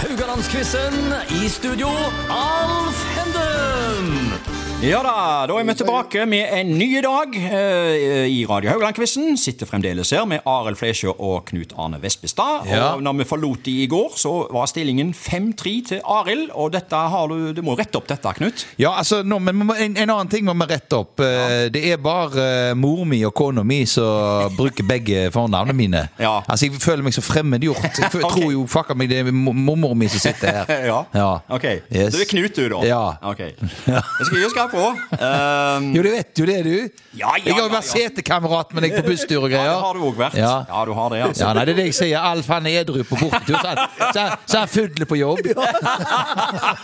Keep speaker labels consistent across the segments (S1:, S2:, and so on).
S1: Haugalandsquizen. I studio, Alf Henden.
S2: Ja da, da er vi tilbake med en ny dag eh, i Radio Haugland-quizen. Sitter fremdeles her med Arild Flesjø og Knut Arne Vespestad.
S1: Ja.
S2: Og når vi forlot de i går, så var stillingen 5-3 til Arild. Og dette har du, du må rette opp dette, Knut.
S3: Ja, altså, nå, men må- en, en annen ting må vi rette opp. Eh, Det er bare eh, mor mi og kona mi som bruker begge fornavnene mine.
S2: Ja.
S3: Altså, jeg føler meg så fremmedgjort. Jeg fø-
S2: Ok.
S3: tror jo fucka meg det er mor- mormor mi som sitter her.
S2: Ja.
S3: Eh, Ja.
S2: Ok, Du
S3: Yes.
S2: er Knut, du, da?
S3: Ja.
S2: Ok. Jeg skal gi oss på. Um,
S3: Jo, du vet jo det, du.
S2: Ja, ja,
S3: jeg
S2: ja,
S3: har jo vært
S2: ja.
S3: setekamerat med deg på busstur og
S2: ja,
S3: greier.
S2: det har du òg vært.
S3: Ja.
S2: ja, du har det, altså.
S3: Ja, nei, det er det jeg sier. Alf han er edru på bortetur, så han- så han- så han fudler på jobb.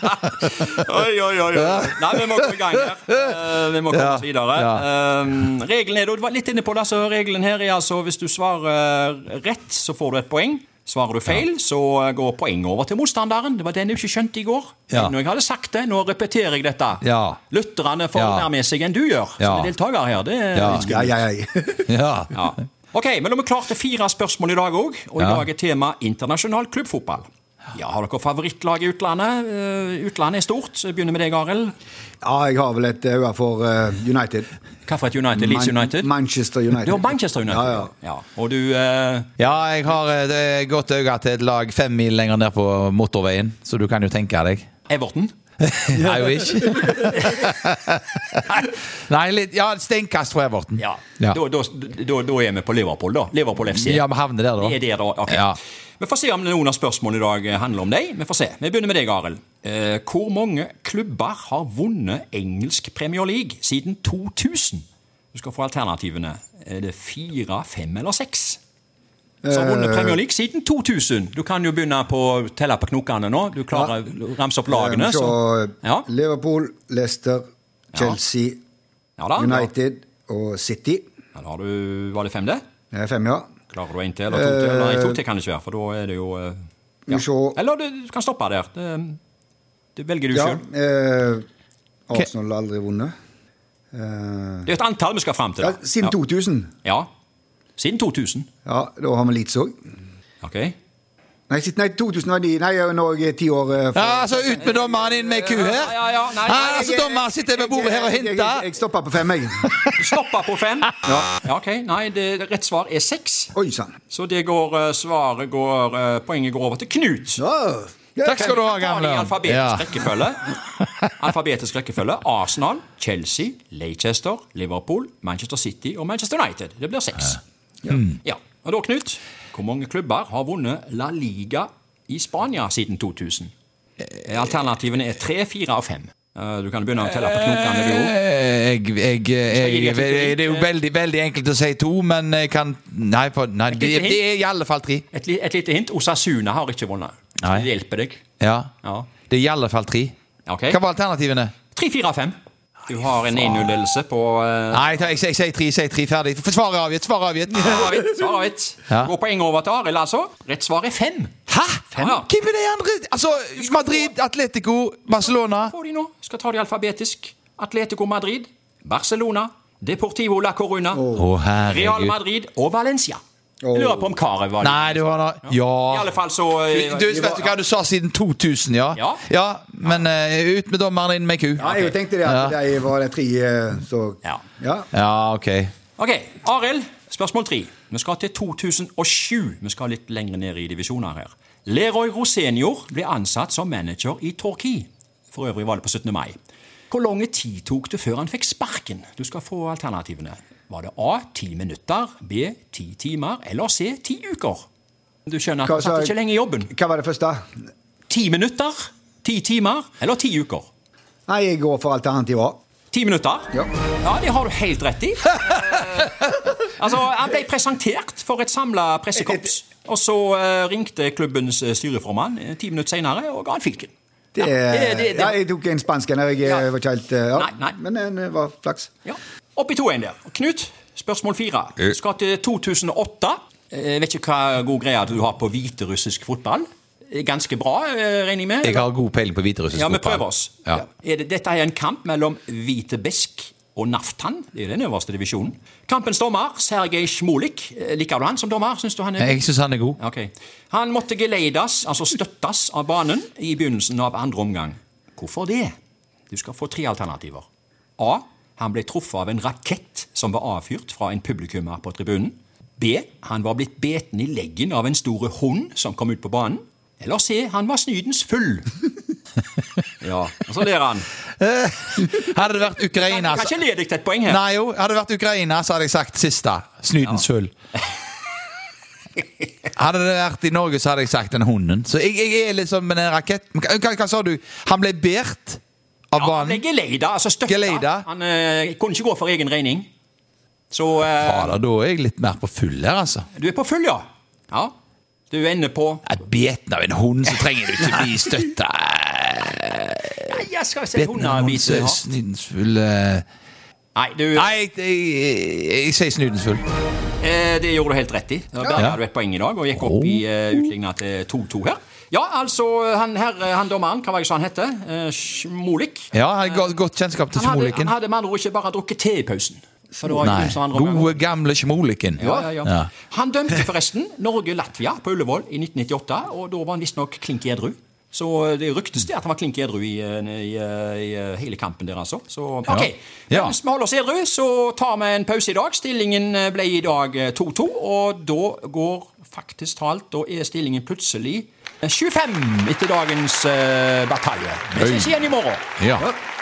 S2: Oi, oi, oi. oi. Nei, vi må komme i gang her. Eh, vi må komme
S3: Ja,
S2: oss videre.
S3: ja.
S2: Eh, regelen er, du var litt inne på det, så regelen her er altså hvis du svarer rett, så får du et poeng. Svarer du feil, så eh, går poenget over til motstanderen. Det var den du ikke skjønte i går.
S3: Ja.
S2: Når jeg hadde sagt det, nå repeterer jeg dette.
S3: Ja.
S2: Lytterne får
S3: Ja.
S2: mer med seg enn du gjør,
S3: Ja.
S2: som er deltaker her. Det er
S3: Ja.
S2: litt skummelt.
S4: Ja, ja, ja.
S3: Ja.
S2: Ja. Ok, men da har vi klart til fire spørsmål i dag òg, og i
S3: Ja.
S2: dag er tema internasjonal klubbfotball. Ja, Har dere favorittlag i utlandet? Eh, utlandet er stort. så Jeg begynner med deg, Arild.
S4: ja, jeg har vel et øye for eh, United.
S2: Hvilket United? Leeds
S4: Man-
S2: United?
S4: Manchester United.
S2: Du har Manchester United.
S4: Ja, ja.
S2: Og du eh,
S3: Ja, jeg har eh, det godt øye til et lag fem mil lenger ned på motorveien, så du kan jo tenke deg.
S2: Everton?
S3: Nei, jo ikke. Nei, litt, ja, steinkast fra Everton.
S2: Ja.
S3: Ja.
S2: Da, da, da, da er vi på Liverpool, da. Liverpool FC.
S3: ja, vi havner der, da.
S2: Vi er der, da. Ok.
S3: Ja.
S2: Vi får se om noen av spørsmålene i dag eh, handler om deg. Vi får se. Vi begynner med deg, Arild. Eh, hvor mange klubber har vunnet engelsk Premier League siden 2000? Du skal få alternativene. Er det fire, fem eller seks? Som har vunnet Premier League siden 2000. Du kan jo begynne på å telle på knokene nå. Du klarer å ramse opp lagene.
S4: Eh, så,
S2: så- Ja.
S4: Liverpool, Leicester, Chelsea,
S2: Ja da.
S4: United og City.
S2: Ja, da har du, var det fem, det?
S4: Det er fem, ja.
S2: Klarer du en til eller to til? Nei, to til kan det ikke være, for da er det jo eh,
S4: Vi ser-
S2: Eller du, du kan stoppe der. Det, det velger du
S4: Ja,
S2: selv.
S4: eh, Arsenal har aldri vunnet. Eh,
S2: Det er et antall vi skal fram til.
S4: ja,
S2: da.
S4: siden 2000.
S2: Ja. ja. Siden 2000.
S4: Ja, da har vi Leeds òg.
S2: Ok.
S4: Nei, siden- nei, 2000 var de Nei, nå er jeg ti år eh,
S3: Ja,
S4: fra-
S3: altså Ut med dommeren, inn med ku her!
S2: Ja, ja, ja, nei, nei,
S3: Ah, altså, Dommeren sitter ved bordet her og
S4: Jeg- jeg- Jeg,
S3: hinter!
S4: jeg stopper på fem, jeg.
S2: Du stopper på fem. Ja. ok. Nei, det, rett svar er seks.
S4: Oi sann.
S2: Så det går, eh, svaret går, eh, poenget går over til Knut.
S4: Ja.
S3: Takk skal du ha,
S2: Ta det i
S3: gamle.
S2: alfabetisk rekkefølge. Alfabetisk rekkefølge. Arsenal, Chelsea, Leicester, Liverpool, Manchester City og Manchester United. Det blir seks.
S3: Mm.
S2: Ja. Og da, Knut, hvor mange klubber har vunnet La Liga i Spania siden 2000? Alternativene er tre, fire og fem. Eh, Du kan begynne å telle på knokene, du òg.
S3: Jeg, jeg, jeg,
S2: gi deg
S3: jeg,
S2: et
S3: det er jo
S2: lite-
S3: veldig veldig enkelt å si to, men jeg kan Nei, for, nei det,
S2: lite hint?
S3: det er i alle fall tre.
S2: Et, li- et lite hint. Osasuna har ikke vunnet.
S3: Nei.
S2: Det hjelper deg.
S3: Ja.
S2: Ja.
S3: Det er i alle fall tre.
S2: Ok.
S3: Hva var alternativene?
S2: Tre, fire og fem. Du har en 1-0-ledelse på eh,
S3: Nei, jeg, jeg, jeg sier tre. jeg sier tre Ferdig. Svar er avgitt! Svar er avgitt!
S2: Svaret, svaret.
S3: Ja.
S2: Går poenget over til Arild, altså. Rett svar er fem.
S3: Hæ?!
S2: Fem?
S3: Hvem er de andre? Altså, Madrid, Atletico, Barcelona
S2: Får de nå. Skal ta de alfabetisk. Atletico Madrid, Barcelona, Deportivo la Coruna,
S3: Å,
S2: Real
S3: herregud.
S2: Madrid og Valencia. Jeg lurer på om Karev var
S3: Nei, du har da
S2: I
S3: Ja.
S2: alle fall så eh,
S3: Du, vet du hva du sa siden 2000, ja?
S2: Ja.
S3: men eh, ut med dommeren, inn med ku.
S4: Ja, jeg tenkte det at de var de tre eh, så
S2: Ja.
S4: ja.
S3: Ja, ok.
S2: Ok, Arild. Spørsmål tre. Vi skal til 2007. Vi skal litt lenger ned i divisjoner her. Leroy Rosenior ble ansatt som manager i Torquay. For øvrig var det på 17. mai. Hvor lang tid tok det før han fikk sparken? Du skal få alternativene. Var det A ti minutter, B ti timer eller C ti uker? Du skjønner at
S4: Hva
S2: han
S4: sa
S2: satt
S4: jeg?
S2: ikke lenge i jobben.
S4: Hva var det første?
S2: Ti minutter, ti timer eller ti uker?
S4: Nei, jeg går for alternativ A.
S2: Ti minutter?
S4: Ja.
S2: ja, det har du helt rett i. Eh, altså, Han ble presentert for et samla pressekorps. Og så eh, ringte klubbens eh, styreformann eh, ti minutter senere og ga han fyken.
S4: Det,
S2: Ja, det- det- det-
S4: Ja, jeg tok en spansk en. Jeg
S2: Ja.
S4: eh, var ikke helt eh, ja.
S2: Nei, nei.
S4: Men eh, det var flaks.
S2: Ja. Eh. Opp i 2-1 der. Knut, spørsmål fire. Du skal til 2008. Eh, Jeg vet ikke hva god greie du har på hviterussisk fotball. Eh, Ganske bra, eh, regner jeg med?
S3: Jeg har god peiling på hviterussisk
S2: Ja, vi
S3: fotball.
S2: prøver oss.
S3: Ja.
S2: Er det, dette er en kamp mellom Hvitebesk og Naftan. Det er den øverste divisjonen. Kampens dommer, Sergej Smolik. Eh, Liker du han som dommer? Synes du han er
S3: Jeg syns han er god.
S2: Ok. Han måtte geleides, altså støttes, av banen i begynnelsen av andre omgang. Hvorfor det? Du skal få tre alternativer. A. Han ble truffet av en rakett som var avfyrt fra en publikummer på tribunen. B. Han var blitt beten i leggen av en stor hund som kom ut på banen. Eller C. Han var snydens full. Ja, og så ler han.
S3: Hadde det vært Ukraina så-
S2: Kanskje ledig til et poeng her.
S3: altså- Nei jo, hadde det vært Ukraina, så hadde jeg sagt siste. Snydens full. Hadde det vært i Norge, så hadde jeg sagt den hunden. Så jeg, jeg er liksom med en rakett Men hva, hva, hva sa du? Han ble bært av
S2: Ja, han ble
S3: banen?
S2: geleida, altså støtta.
S3: Geleida.
S2: Han eh, kunne ikke gå for egen regning. Så eh,
S3: Ja, da, da er jeg litt mer på full her, altså.
S2: Du er på full, ja. ja. Du er inne på
S3: Er beten av en hund, så trenger du ikke bli støtta.
S2: Nei, jeg skal se
S3: Beten av en hund, så
S2: hundebiter.
S3: er snydens full eh.
S2: Nei, du,
S3: Nei, jeg, jeg, jeg, jeg sier snydens full.
S2: eh, det gjorde du helt rett i. Da
S3: Ja.
S2: hadde du et poeng i dag og gikk opp i eh, utligna til 2-2 her. Ja, altså, han, her, eh, han dommeren, hva var det han het? Eh, Smolik.
S3: Ja, jeg har godt- godt kjennskap til
S2: Han hadde,
S3: smoliken.
S2: han hadde med andre ord ikke bare drukket te i pausen. For det var i
S3: Nei,
S2: begynnelsen av andre omgang.
S3: gode, gamle smoliken.
S2: Ja, ja, ja. Han dømte forresten Norge-Latvia på Ullevål i 1998, og da var han visstnok klink edru. Så det ryktes det at han var klink edru i, eh, i, i hele kampen der, altså. Så OK.
S3: Ja.
S2: Mens vi holder oss edru, så tar vi en pause i dag. Stillingen eh, ble i dag 2-2, og da går faktisk talt Da er stillingen plutselig 25 etter dagens eh, batalje. eh, Vi ses igjen i morgen.
S3: Ja.
S2: Ja.